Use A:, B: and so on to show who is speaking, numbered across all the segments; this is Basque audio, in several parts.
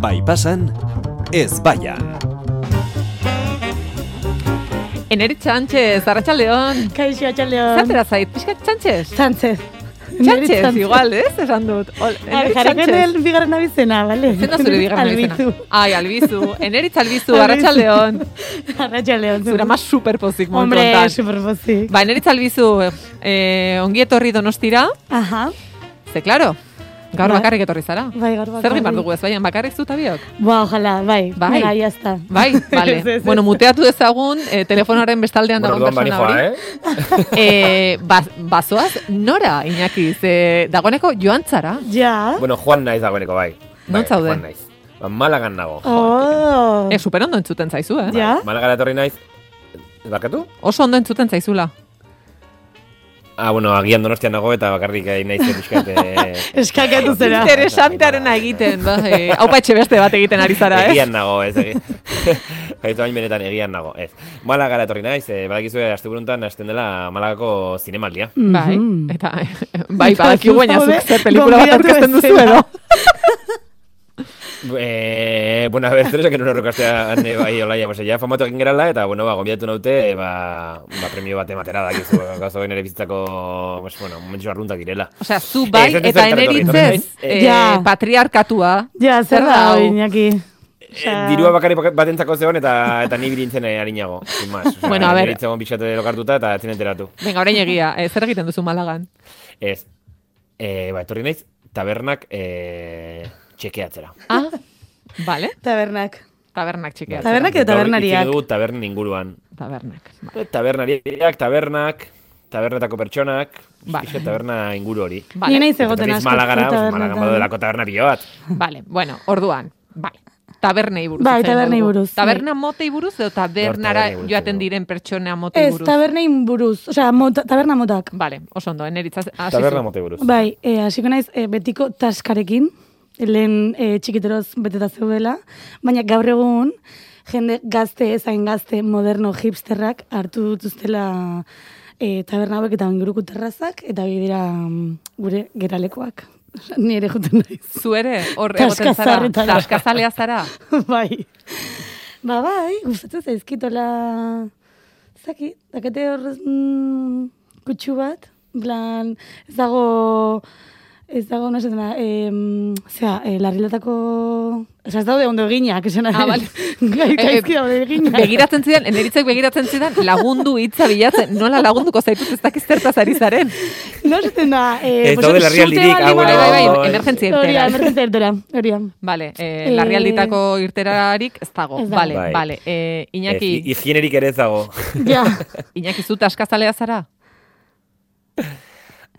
A: bai pasan, ez baian.
B: Eneri Txantxez, arratxaldeon.
C: Kaixo, atxaldeon.
B: Zatera zait, pixka Txantxez.
C: Sánchez.
B: Txantxez, igual, ez? Esan dut. Ol, Eneri
C: Jarreken
B: Txantxez.
C: el bigarren abizena, bale?
B: Zein da zure bigarren
C: Albizu.
B: abizena? Ai, albizu. Eneritz albizu,
C: Albizu.
B: arratxaldeon.
C: Arratxaldeon.
B: Zura mas superpozik momentu
C: Hombre,
B: honetan.
C: superpozik.
B: Ba, eneritz albizu, eh, ongi etorri donostira.
C: Aha.
B: Ze, claro, gaur
C: Bai.
B: bakarrik etorri zara.
C: Bai, gaur
B: Zer
C: bakarrik.
B: rimar dugu ez, baina bakarrik zu eta biok?
C: Ba, ojalá, bai.
B: Bai.
C: Venga, ya está.
B: Bai, vale.
C: Ez, ez, ez.
B: bueno, muteatu dezagun, eh, telefonoaren bestaldean
D: Bueno,
B: dagoen
D: orduan
B: persona
D: bani
B: hori.
D: joa, eh?
B: eh, baz, bazoaz, nora, Iñaki, ze dagoeneko joan zara.
C: Ja.
D: Bueno, Juan naiz dagoeneko, bai.
B: Non
D: Bai,
B: zaude?
D: Juan naiz. Ba, Malagan nago. Bai,
C: Oh.
B: E, super ondo entzuten zaizu, eh?
C: Ja.
D: Malagara etorri naiz. Barkatu?
B: Oso ondo entzuten zaizula.
D: Ah, bueno, agian donostian nago eta bakarrik ari naiz pixkat. eh,
C: Eskakatu zera.
B: Interesantearena
C: Bai,
B: egiten, ba, eh, haupa etxe beste bat egiten ari zara, eh?
D: Egian nago, ez. egi- Jaitu hain benetan egian nago, ez. Malagara etorri naiz, eh, badakizue asteburuntan hasten dela Malagako zinemaldia.
B: Bai,
C: Mhm.
B: eta bai,
C: Eta
B: badakigu
C: zu
B: baina
C: zaude,
B: zuk zer pelikula bat
C: gonbidatu
B: aurkezten duzu
C: bezala.
B: edo.
D: Eh, bueno, a ver, zeresak enun horrekastean, eh, bai, olaia, pues, ja, famatu egin gerala, eta, bueno, ba, gombiatu naute, eh, ba, ba, premio bat ematera dakizu, gazo nere bizitzako, pues, bueno, momentu arruntak direla. Eh,
B: Osea, zu bai
D: Ez, ez, ez,
B: eta
D: ez,
B: eneritzez
D: ez, ez.
B: eh,
C: Ja.
B: patriarkatua.
C: Ja, zer da,
B: hau?
C: Iñaki?
D: Eh, dirua bakarri batentzako zegoen eta eta ni bilintzen eh, arinago, sin más. Osea,
B: Bueno, a ver.
D: nire hitzegon pixkate lokartuta eta ezin enteratu.
B: Venga, orain egia, eh, zer egiten duzu Malagan?
D: Ez. Eh, ba, etorri naiz tabernak eh, txekeatzera.
B: Ah, vale,
C: Tabernak.
B: tabernak txikia.
C: Tabernak edo
D: Gaur
C: tabernariak?
D: hitz egin dugu tabernen inguruan.
B: Tabernak. Ba.
D: Eh, Tabernariak, tabernak, tabernetako pertsonak,
B: Ba.
D: pixka taberna inguru hori.
B: Vale.
C: Ni naiz Bai. egoten
D: Etorri naiz
C: asko.
D: Malagara,
C: zu
D: pues,
C: tabernetan.
D: Malagan badoelako taberna pilo bat.
B: Vale, bueno, orduan, bai. Tabernei buruz.
C: Bai,
B: hitz egin
C: tabernei
B: dugu.
C: buruz, bai.
B: Taberna motei buruz edo tabernara
D: Gaur tabernei buruz
B: joaten
D: dugu.
B: diren pertsona motei
C: Ez,
B: buruz.
C: tabernein buruz. Osea, mota, taberna motak.
B: Vale, oso ondo, ah, eneritzaz. hasi zu.
D: Taberna mote buruz.
C: Ah, Bai, eh, hasiko naiz eh, betiko taskarekin, lehen eh, txikiteroz beteta zeudela, baina gaur egun jende gazte, ezain gazte, moderno hipsterrak hartu dutuztela eh, taberna hauek eta inguruko terrazak, eta hori dira mm, gure geralekoak. Osea, Ni ere juten naiz.
B: Zu ere, hor egoten zara,
C: Taskazarretara.
B: taskazalea zara.
C: bai. Ba, bai, gustatzen zaizkitola, zaki, dakate horrez mm, kutsu bat, plan, ez dago, ez dago, no esaten da, em, zera, e, larrilatako, ez daude ondo eginak, esan
B: Ah, bale.
C: Gai,
B: Eh,
C: gaizki daude eginak.
B: Begiratzen zidan, eneritzak begiratzen zidan, lagundu hitza bilatzen, nola lagunduko zaitut ez dakiz zertaz ari zaren.
C: No esaten da, eh,
D: Ez daude
C: pues,
D: larrialdirik,
C: sulte baldin
B: Bai,
D: ah, bueno,
C: bada-
B: bai,
D: bai.
B: bai, emergentzia
C: Horia,
B: irtera.
C: emergentzia irtera, horia.
B: Vale, eh,
C: Eh,
B: larrialditako irterarik ez dago.
C: ez dago.
B: Vale,
D: Bai.
B: vale. Eh,
D: Ez,
B: Iñaki,
D: higienerik ere ez dago.
C: Ja,
B: Iñaki, zu taskazalea zara?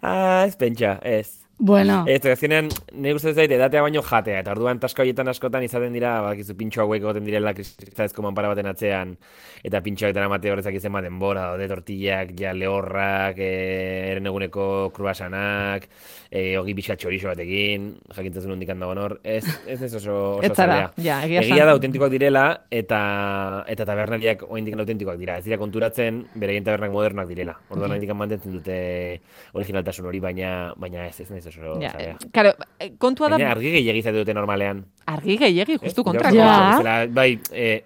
D: ah, ez pentsa, ez.
C: bueno.
B: Eh.
D: Ez, azkenean, nire uste zait, edatea baino jatea, eta orduan taska horietan askotan izaten dira, ba, badakizu pintxo hauek egoten direla kristalezko manpara baten atzean, eta pintxoak dara mate horrezak izen baten bora, daude tortillak, ja lehorrak, e, eren eguneko kruasanak, e, ogi pixka txorizo batekin, jakintzen zuen hundikan dagoen hor, ez, ez ez oso, oso
B: Ez zara,
D: zalea.
B: ja, egia esan.
D: egia da autentikoak direla, eta, eta tabernariak oaindik autentikoak dira, ez dira konturatzen, bereien tabernak modernak direla, orduan oaindik mantentzen dute originaltasun hori, baina, baina ez, ez naiz oso
B: Ja,
D: zalea.
B: eh, Karo, eh, kontua da,
D: Baina argi gehiagi zate dute normalean.
B: argi gehiagi, justu
D: Eh?
B: kontrako.
C: Ja.
D: Bezala, bai, eh,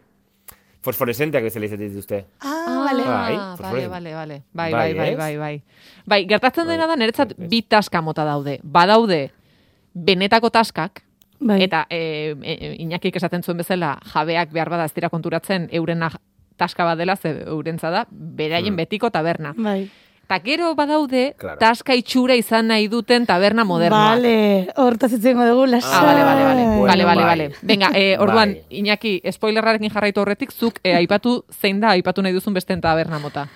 D: fosforesenteak bezala izaten dituzte.
C: Ah,
B: Ah,
C: vale.
D: Bai,
B: vale,
D: fosforen.
B: vale, vale. Bai, bai,
D: Bai,
B: bai,
D: ez?
B: bai, bai. Bai, gertatzen
D: Bai,
B: dena da niretzat
D: ez.
B: bi taska mota daude. Badaude benetako taskak,
C: Bai.
B: eta e, e, e, Iñakik esaten zuen bezala jabeak behar bada ez dira konturatzen eurena taska bat dela, ze eurentza da, beraien
D: Mm.
B: betiko taberna.
C: Bai.
B: Eta gero badaude
D: Claro.
B: taska itxura izan nahi duten taberna modernoa.
C: Vale, hortaz itzen dugu, lasa.
B: Ah, vale, vale, vale.
D: Bueno,
B: vale, vale,
D: bai.
B: vale. Venga, eh, orduan,
D: Bai.
B: Iñaki, spoilerrarekin jarraitu horretik, zuk eh, aipatu zein da, aipatu nahi duzun besten taberna mota.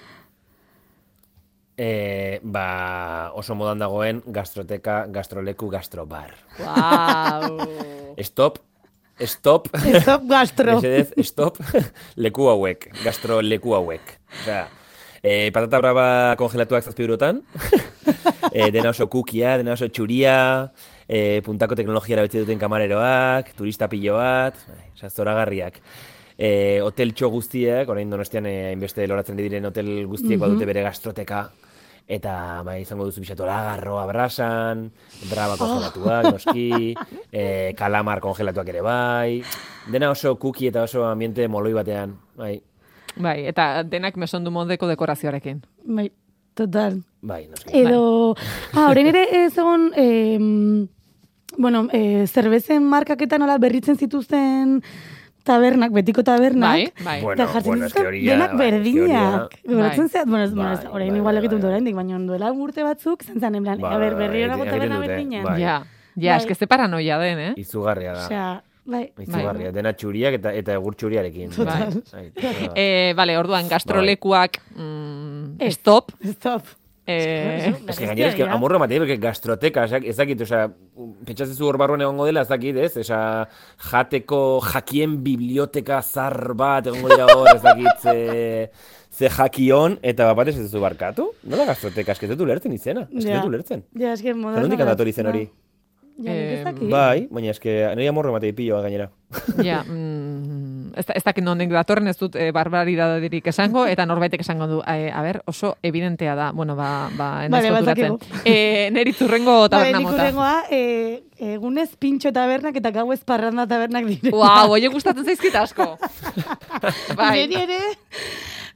D: Eh, ba, oso modan dagoen gastroteka, gastroleku, gastrobar.
B: Wow.
D: Stop, stop,
C: Stop gastro.
D: mesedez, stop, leku hauek, gastroleku hauek. Osea, eh, patata brava kongelatuak zazpi eurotan, eh, dena oso kukia, dena oso txuria, eh, puntako teknologia erabiltzen duten kamareroak, turista pilo bat, bai, osea, zoragarriak. Eh, hotel txo guztiak, orain donostian eh, hainbeste loratzen diren hotel guztiek badute bere gastroteka, Eta bai, izango duzu bisatu lagarroa brasan, draba kongelatuak, noski, eh, kalamar kongelatuak ere bai. Dena oso kuki eta oso ambiente moloi batean. Bai,
B: Bai, eta denak mesondu modeko dekorazioarekin.
C: Bai, total.
D: bai, noski.
C: Edo, ah, orain ere ez egon, em, bueno, e, zerbezen markaketan nola berritzen zituzten tabernak, betiko tabernak.
B: Bai, bai.
D: Bueno,
C: Eta jartzen
D: bueno,
C: zituzten
D: ez teoria,
C: denak
D: bai,
C: berdinak.
D: ez
C: Goratzen
B: Bai.
C: zeat, bueno, ez,
D: Bai,
C: bueno, ez, orain
D: bai,
C: igual
D: bai,
C: egiten dut
D: bai.
C: oraindik, baina duela urte batzuk, zen zen, en plan, "Eh,
D: Bai,
C: a ber,
D: bai,
C: berriro
D: bai,
C: nago
D: egiten
C: taberna
D: dute,
C: berdinan.
D: bai.
B: Ja, ja,
C: Bai.
B: eske ze paranoia den, eh?
D: Izugarria da.
C: Osea, bai.
D: Izugarria, dena txuriak eta eta egur txuriarekin.
B: Total.
D: Bai, bai.
B: Eh, vale, orduan gastrolekuak mm, stop.
C: Stop.
B: Eh,
D: Ez que gainera, ez que amorro matei, porque gastroteka, ezak, ezakit, oza, pentsatzen zu hor barruan egongo dela, ezakit, ez? Oza, jateko jakien biblioteka zar bat egongo dira hor, ezakit, ze, ze jakion, eta bat batez ez zu barkatu? Nola gastroteka, ez que ez dut ulertzen izena, ez que ez
C: Ja.
D: dut ulertzen.
C: Ja, eske moda.
D: Zerundik handatu izen hori?
C: Ja, nik ez
B: Em,
C: dakit.
D: Bai, baina ez que nire amorro matei piloa gainera.
B: ja, mm, ez, da- ez dakit nondik datorren, ez dut eh, barbaridaderik esango, eta norbaitek esango du, eh, a ber, oso evidentea da, bueno, ba, ba, enaiz
C: Vale,
B: konturatzen.
C: badakigu.
B: Eh, neritzurrengo taberna
C: Bai, nik
B: mota.
C: hurrengoa, eh, egunez pintxo tabernak eta gau esparranda tabernak dire.
B: Wow, oie gustatzen zaizkit asko. bai.
C: Neri ere,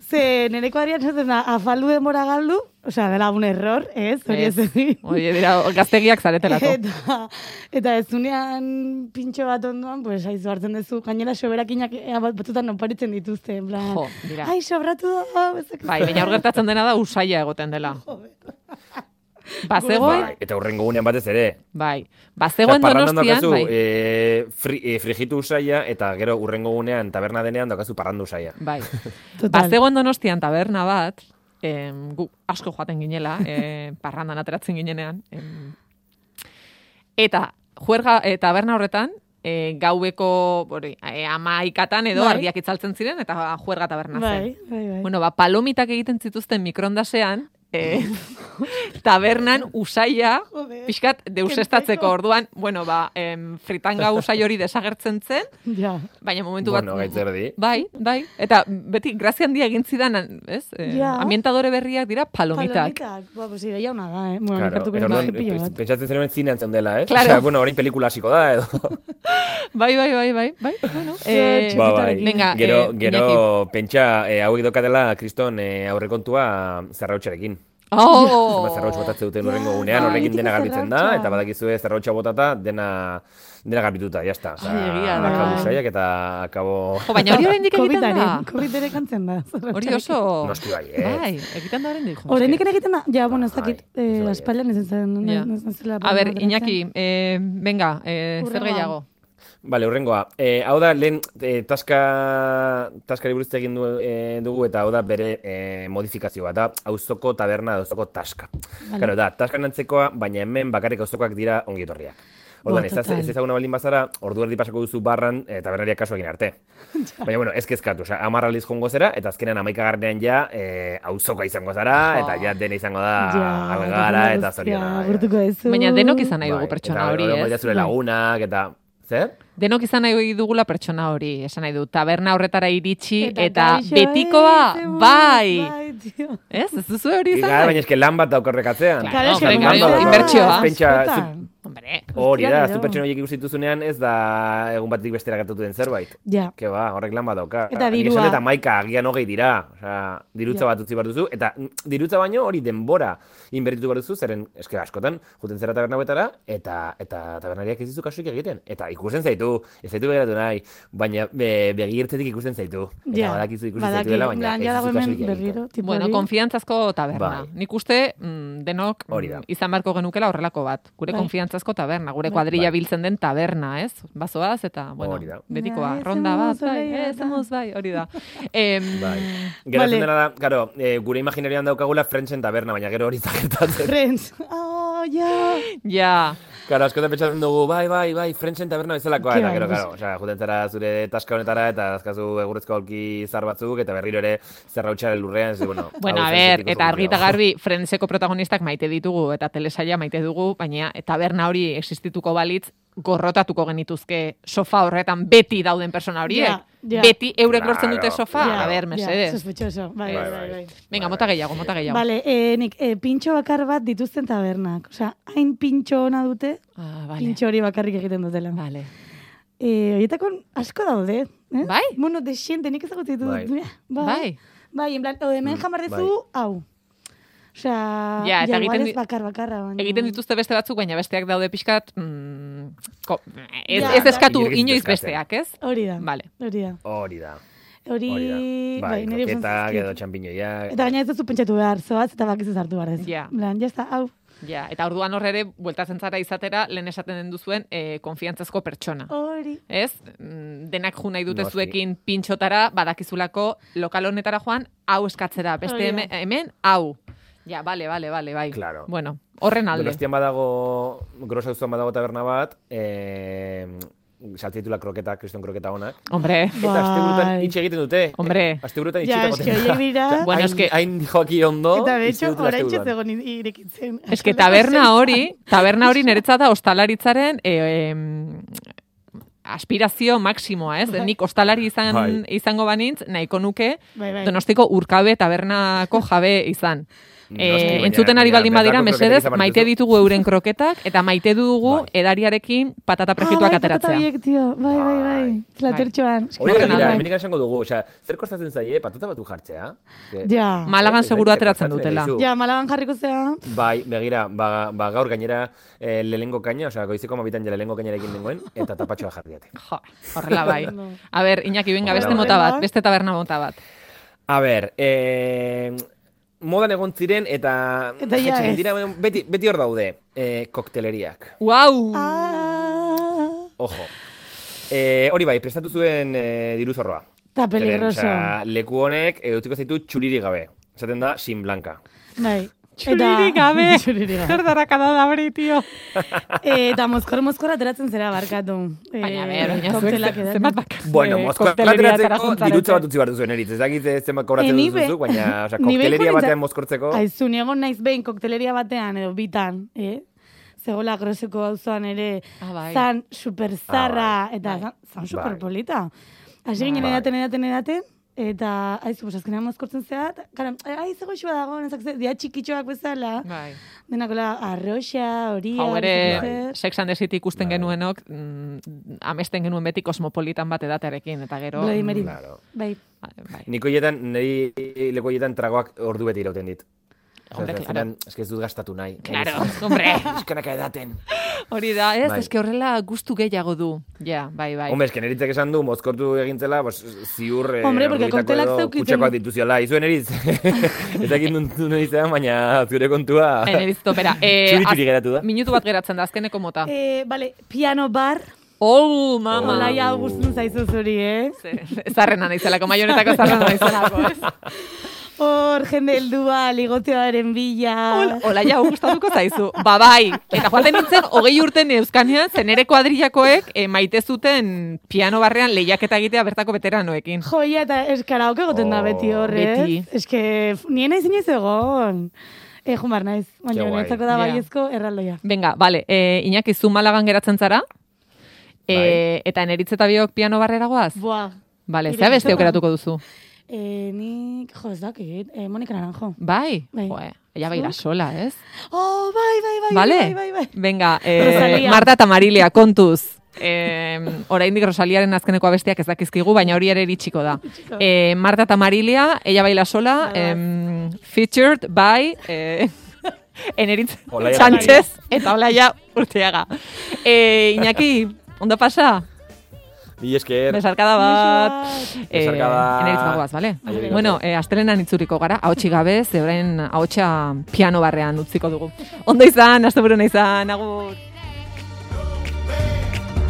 C: ze nereko arian zaten da, afaldu denbora galdu, osea, dela un error, ez, hori ez egin.
B: Oie, dira, gaztegiak zaretelako.
C: Eta, eta ez unean pintxo bat ondoan, pues, aizu hartzen duzu, gainera soberakinak ea bat batzutan oparitzen dituzte, en plan,
B: Jo, dira.
C: ai, sobratu da, hau, ez dakit
B: Bai,
C: zer."
B: baina hor gertatzen dena da usaia egoten dela. Bazegoen,
D: Bai, eta hurrengo gunean batez ere.
B: bai.
D: Eta
B: Bazegoen
D: parrandan
B: donostian,
D: daukazu
B: bai.
D: eh, fri, eh, frijitu usaia, eta gero hurrengo gunean taberna denean daukazu parrandu usaia.
B: Bai.
C: Total.
B: Bazegoen donostian taberna bat, em, gu asko joaten ginela, em, parrandan ateratzen ginenean. Em, eta, juerga, e, taberna horretan, e, gaueko hori, e, amaikatan edo
C: Bai.
B: argiak itzaltzen ziren, eta juerga taberna zen.
C: Bai, bai, bai.
B: Bueno, ba, palomitak egiten zituzten mikrondasean, eh, tabernan usaia,
C: Joder.
B: pixkat deusestatzeko orduan, bueno, ba, em, fritanga usai hori desagertzen zen,
C: ja.
B: baina momentu
D: Bueno,
B: bat...
D: gaitzerdi.
B: Bai, bai. Eta beti, grazia handia egin zidan, ez? Eh,
C: Ja.
B: Ambientadore berriak dira palomitak.
C: Palomitak. Ba, pues ideia ona da, eh? Bueno,
D: Claro,
C: claro,
D: eta orduan,
C: pilo
D: pe-
C: bat.
D: pentsatzen zenuen zinean zeundela, eh?
B: Claro.
D: Osea, bueno, orain pelikula hasiko da, edo.
B: Bai, bai, bai, bai, bai, bueno. Eh,
C: Ba, bai.
B: Venga,
D: gero,
B: eh,
D: gero pentsa, eh, hauek dokatela kriston eh, aurrekontua zerrautxarekin.
B: Oh!
D: Zenbat Zerrautx botatzen duten
C: Ja,
D: horrengo gunean,
C: bai,
D: horrekin
C: betiko
D: dena garbitzen da,
C: zerrautxa.
D: eta badakizue zerrautxa botata dena, dena garbituta, jazta. Osea,
B: Ai, egia da.
D: akabo usaiak eta akabo...
B: Jo, baina hori oraindik egiten da.
C: Covidaren- Covidere kantzen da. zerratxarekin.
B: Hori oso...
D: Noski bai, eh.
B: Bai, egiten da oraindik. jo,
C: Horrenik
B: eske.
C: ere egiten da, ja, bueno, ez dakit,
D: Bai, ez
C: eh,
D: bai, eh.
C: aspaldean ez zen,
B: Ja.
C: ez zen zela.
B: A ber,
C: moderatzen.
B: Iñaki, eh, venga, eh, zer
C: Hurrengoa.
B: gehiago?
D: Bale, urrengoa. E, hau da, lehen e, taska, taskari buruz egin du, e, dugu eta hau da bere e, modifikazio bat, da auzoko taberna, auzoko taska. Claro, da, taskan antzekoa, baina hemen bakarrik auzokoak dira ongi etorriak. Orduan,
C: Bo,
D: ez, da-
C: total.
D: ez ezaguna baldin bazara, ordu erdi pasako duzu barran e, tabernaria kasu egin arte. Baina, bueno, ez kezkatu, oza, amarraliz jongo zera, eta azkenean amaikagarrean ja e, auzoka izango zara, eta ja dena izango da algara Ah, eta zoriona. ja.
C: Gurtuko ezu.
B: Baina denok izan nahi dugu
D: Bai,
B: pertsona
D: eta
B: hori,
D: orduan badira
B: ez? Bai.
D: Zure lagunak, eta... Zer?
B: Denok izan nahi dugula pertsona hori, esan nahi du, taberna horretara iritsi eta,
C: kaixo,
B: betikoa,
C: eh, ze buruz,
B: bai!
C: Bai, tio.
B: Ez, ez duzu hori izan
D: Gara,
B: nahi?
D: Bai, baina eske lan bat daukorrekatzean.
B: Claro,
D: Osea,
B: eske
D: lan
B: hori
D: bat
B: inbertsioa.
D: daukar. Pentsa,
C: Askotan.
D: zu-
B: Hombre,
D: hori da,
C: Gero.
D: zu pertsona horiek ikusi dituzunean ez da egun batetik bestera gertatu den zerbait.
C: Ja,
D: Ke ba, horrek lan bat dauka.
C: Eta
D: Nik
C: dirua.
D: esan Eta maika, agian hogei dira. Osea,
C: Ja.
D: dirutza bat utzi behar duzu, eta mm, dirutza baino hori denbora inbertitu behar duzu, zeren eske askotan, juten zera taberna hauetara, eta, eta tabernariak ez dizu kasuik egiten. Eta ikusten zaitu, ez zaitu begiratu nahi, baina be, begirtzetik ikusten zaitu. Eta
C: ja.
D: badakizu ikusten
C: Badaki,
D: zaitu dela, baina
C: lan,
D: ez
C: ja dago
D: dizu
C: hemen
D: kasuik egiten.
C: berriro, tipo
B: bueno,
C: hori.
B: konfiantzazko taberna.
D: Bai.
B: Nik uste mm, denok
D: Hori da.
B: mm, izan beharko genukela horrelako bat. Gure
C: Bai.
B: konfiantzazko taberna, gure kuadrilla biltzen den taberna, ez? Bazoaz eta, bueno,
D: Bai. Hori da.
B: betikoa,
C: Ja, ez
B: ronda
C: emoz,
B: bat, bai,
C: oleia,
B: ez,
C: eta-
B: emoz, bai, hori da. Em,
D: Bai. Gero
C: Vale.
D: vale. dena da, karo, eh, gure imaginarioan daukagula Frentsen taberna, baina gero hori ez da gertatzen.
C: Friends. Oh, ja.
B: Ja,
D: Karo, askotan pentsatzen dugu, bai, bai, bai, Frentsen taberna bezalakoa, eta
C: Claro,
D: gero,
C: bai, pues-
D: karo, osea, juten zara zure taska honetara, eta azkazu egurrezko aulki zar batzuk, eta berriro ere zerrautxaren lurrean, ez bueno.
B: Bueno,
D: hau
B: a ber,
D: Frentsetik oso
B: eta argi eta
D: gutxiago.
B: garbi, Friendseko protagonistak maite ditugu, eta telesaila maite dugu, baina taberna hori e, existituko balitz, gorrotatuko genituzke sofa horretan beti dauden persona horiek.
C: Ja, ja.
B: Beti eurek lortzen dute
D: Claro,
B: sofa.
D: claro.
B: A ber, mesedez.
C: sospechoso. Bai, bai,
D: Bai, bai.
C: bai.
B: Venga,
D: Bai,
B: mota
D: bai.
B: gehiago, mota gehiago.
C: Vale, eh, nik, eh, pintxo bakar bat dituzten tabernak. Osea, hain pintxo ona dute,
B: Ah, vale. Bai.
C: pintxo hori bakarrik egiten dutela.
B: Vale.
C: Eh, horietako asko daude, eh?
B: Bai?
C: Bueno, de xente, nik ezagutu ditut.
D: Bai.
C: Mira, Bai.
B: Bai.
C: Bai, en plan, o hemen jamar
D: bai.
C: dezu, hau. Osea,
B: Ja,
C: ja,
B: eta
C: igual
B: egiten
C: ez
B: di-
C: bakar bakarra. Baina.
B: Egiten dituzte beste batzuk, baina besteak daude pixkat... Mm, ko, ez,
C: Ja,
B: ez
C: bai.
B: eskatu
D: Inork ez
B: inoiz
D: dezake.
B: besteak, ez?
C: Hori da.
B: Vale.
C: Hori da.
D: Hori da.
C: Hori,
D: Hori da. Bai,
C: niri
D: bai
C: funtzazkit.
D: edo txampiñoiak.
C: Eta gaina ez duzu pentsatu behar, zoaz eta bakizu zartu behar ez.
B: Ja.
C: Lan, jazta, hau.
B: Ja, eta orduan horre ere, bueltatzen zara izatera, lehen esaten den duzuen, eh, konfiantzazko pertsona.
C: Hori.
B: Ez? Mm, Denak ju nahi dute
D: Noski.
B: zuekin pintxotara, badakizulako lokal honetara joan, hau eskatzera. Beste
C: Hori da.
B: hemen, hemen hau. Ja, bale, bale, bale, bai.
D: Claro.
B: Bueno, horren alde.
D: Donostian badago, grosa auzoan badago taberna bat, eh, saltzen ditula kroketak, kriston kroketa honak.
B: Hombre,
D: Eta asteburutan
C: Bai.
D: itxe egiten dute.
B: Hombre.
D: E, Asteburutan itxe
C: Ja, eske, horiek dira.
B: Bueno,
D: hain,
B: eske-
D: hain joaki ondo.
C: Eta de
D: itxi
C: hecho,
D: dutela
C: orain
D: asteburuan.
C: txezegon irekitzen.
B: Ez que taberna hori, taberna hori niretzat da ostalaritzaren e, aspirazio maksimoa, ez?
C: Bai.
B: Nik ostalari izan,
D: Bai.
B: izango banintz, nahiko nuke,
C: Bai, bai.
B: donostiko urkabe tabernako jabe izan.
D: Noski,
B: E,
D: baina-
B: entzuten ari
D: baina
B: baldin badira,
D: bertako kroketak
B: mesedez,
D: izan behar
B: maite
D: dituzu.
B: ditugu euren kroketak, eta maite dugu
D: Bai.
B: edariarekin patata prefituak
C: Ah, bai,
B: ateratzea.
C: patata biek, tio. Bai, bai, bai.
D: Bai.
C: Zlatertxoan.
D: Hori da,
B: Horren
D: mira,
B: alde.
D: hemen esango dugu, osea, zer kostatzen zaie, patata batu jartzea? Ze-
C: Ja.
B: Malagan
D: Ez dakit
B: seguru
D: zer
B: ateratzen
D: kostatzen
B: dutela.
D: zaizu.
C: Ja, malaban jarriko zea.
D: Bai, begira, ba, ba gaur gainera eh, lehengo kaina, osea, goizeko mabitan jela lehengo kainera egin dengoen, eta tapatxoa jarri dute.
B: Jo, horrela bai.
C: No.
B: A ber, Iñaki, benga, beste
D: Horrela
B: mota
C: bai.
B: bat, beste taberna mota bat.
D: A ber, eh, modan egon ziren eta...
C: Eta ja
D: jaitsi
C: ez.
D: dira, baina beti, beti hor daude, eh, kokteleriak.
B: Wow!
C: Ah.
D: Ojo. Eh, hori bai, prestatu zuen eh, diru zorroa.
C: Ta peligroso.
D: Zeren, osea, leku honek edutiko zaitu txuriri gabe. Esaten da, sin blanca.
C: Bai.
B: Txuririk gabe!
C: Txuririk gabe.
B: Zerdaraka da da hori, tio!
C: Eh, Eta mozkor mozkor ateratzen zera barkatu. Eh,
B: Baina, ber, baina zuek
C: koktelak
B: ze-
C: edaten.
B: zenbat bakar.
D: Bueno,
B: eh,
D: Moskva
B: kokteleria
D: plateratzeko
B: ateratzen
D: dirutza bat
B: zarete.
D: utzi behar duzuen eritz. Ez dakit eh, zenbat kobratzen
C: Eh, ni be-
D: duzu, baina osea,
C: ni behin
D: kokteleria
C: joan
D: batean
C: nintzen-
D: mozkortzeko...
C: Aizu, niegon naiz behin kokteleria batean edo bitan, eh? Zegola groseko auzoan ere
B: Ah, bai.
C: zan superzarra
D: Ah, bai.
C: eta
B: Bai.
C: zan, zan
D: Bai.
C: superpolita. Hasi ginen
D: Bai.
C: edaten, edaten, edaten, eta aizu, pues, azkenean mozkortzen zea, eta, gara, eh, ai, zego xua dago, nezak ze, dia txikitxoak bezala,
B: Bai.
C: denakola arroxa, horia,
B: Hau ere,
C: ez dakit
D: Bai.
C: zer.
B: Sex and the City ikusten
D: Bai.
B: genuenok, mm, amesten genuen beti kosmopolitan bat edatearekin, eta gero...
C: Bloody Mary.
B: mm,
D: Claro.
C: bai,
B: Bai.
D: Niko hietan, niri leku hietan tragoak ordu bete irauten dit.
B: Hombre,
D: Osea,
B: claro.
D: azkenean, Ez que ez dut gastatu nahi.
B: Claro, hombre.
D: Eskanaka edaten.
B: Hori da, ez,
D: Bai.
B: eske horrela gustu gehiago du. Ja, bai, bai.
D: Hombre, esken eritzak esan du, mozkortu egintzela, pues, ziur... eh,
C: Hombre, porque
D: orduitako
C: koktelak
D: edo
C: zeukitzen-
D: Kutsakoak dituziola, izuen eritz. Ez dakit nuntu nahi zean, baina zure kontua...
B: Eneriz topera. Eh,
D: Txuri-txuri
B: az-
D: geratu da.
B: Minutu bat geratzen da, azkeneko
D: Ah.
B: mota.
C: Eh, vale, piano bar,
B: Oh, mama!
C: hola
D: Olai-
C: ja
D: Uh.
C: guztun zaizu zuri, eh?
B: Zarrena naizelako, maionetako zarrena naizelako, ez?
C: Hor, jende heldua, ligotearen bila.
B: Hola, hola ja, hau gustatuko zaizu. Ba bai, eta joaten nintzen, hogei urten euskanean, zen ere kuadrillakoek eh, maite zuten piano barrean lehiaketa egitea bertako veteranoekin.
C: Joia eta eskaraoke goten da
D: Oh.
C: beti horrez.
B: Beti.
C: Eske, f- ni naiz inoiz egon. Eh, jumar naiz, baina
D: Ke guai.
C: niretzako da
B: Ja.
C: baiezko erraldoia.
B: Benga, bale, e, Iñaki, zu malagan geratzen zara? E,
D: Bai.
B: Eta eneritz eta biok piano barrera goaz?
C: Boa.
B: Bale,
C: Nire
B: zea beste
C: gizona.
B: aukeratuko duzu.
C: Eh, nik, jo, ez dakit, eh, Monika Naranjo.
B: Bai?
C: Bai.
B: Joe, ella baila sola, ez?
C: Oh, bai, bai, bai,
B: Bale?
C: bai, bai, bai.
B: Venga, eh,
C: Rosalia.
B: Marta eta Marilia, kontuz. Eh, oraindik Rosaliaren azkeneko abestiak ez dakizkigu, baina hori ere iritsiko da. Eh, Marta eta Marilia, ella baila sola,
C: Bai, bai.
B: em, featured by... Eh, Eneritz
D: Olaia
B: Sánchez eta Olaia Urteaga. Eh, Iñaki, ondo pasa?
D: Bi esker.
B: Besarkada bat.
C: Besarkada.
B: Eh,
D: Besarkada.
B: eneritz bagoaz, bale?
D: Aio, bigote.
B: Bueno, eh, astelenan itzuriko gara, ahotsi gabe, ze orain ahotsa piano barrean utziko dugu. Ondo izan, asteburuna izan, agur.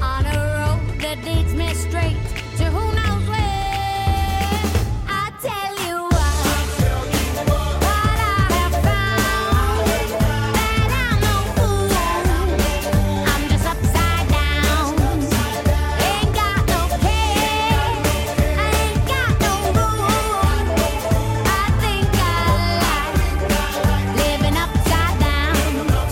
E: on a road that leads me straight to who knows where. I tell you what, what I have found that I'm no fool. I'm just upside down. Ain't got no care, I ain't got no rules. I think I like living upside down. Oh,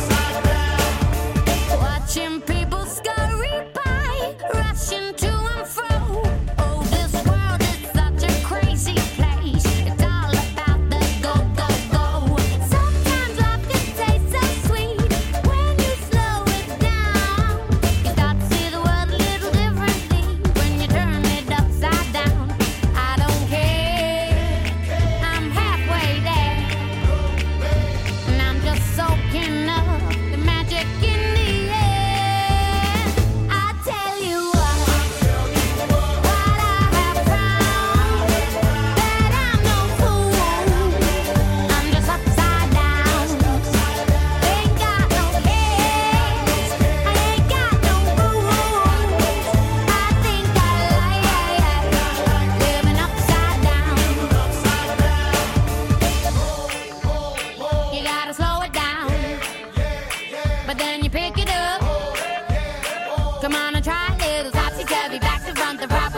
E: Come on and try it. Topsy turvy, back to front, the problem.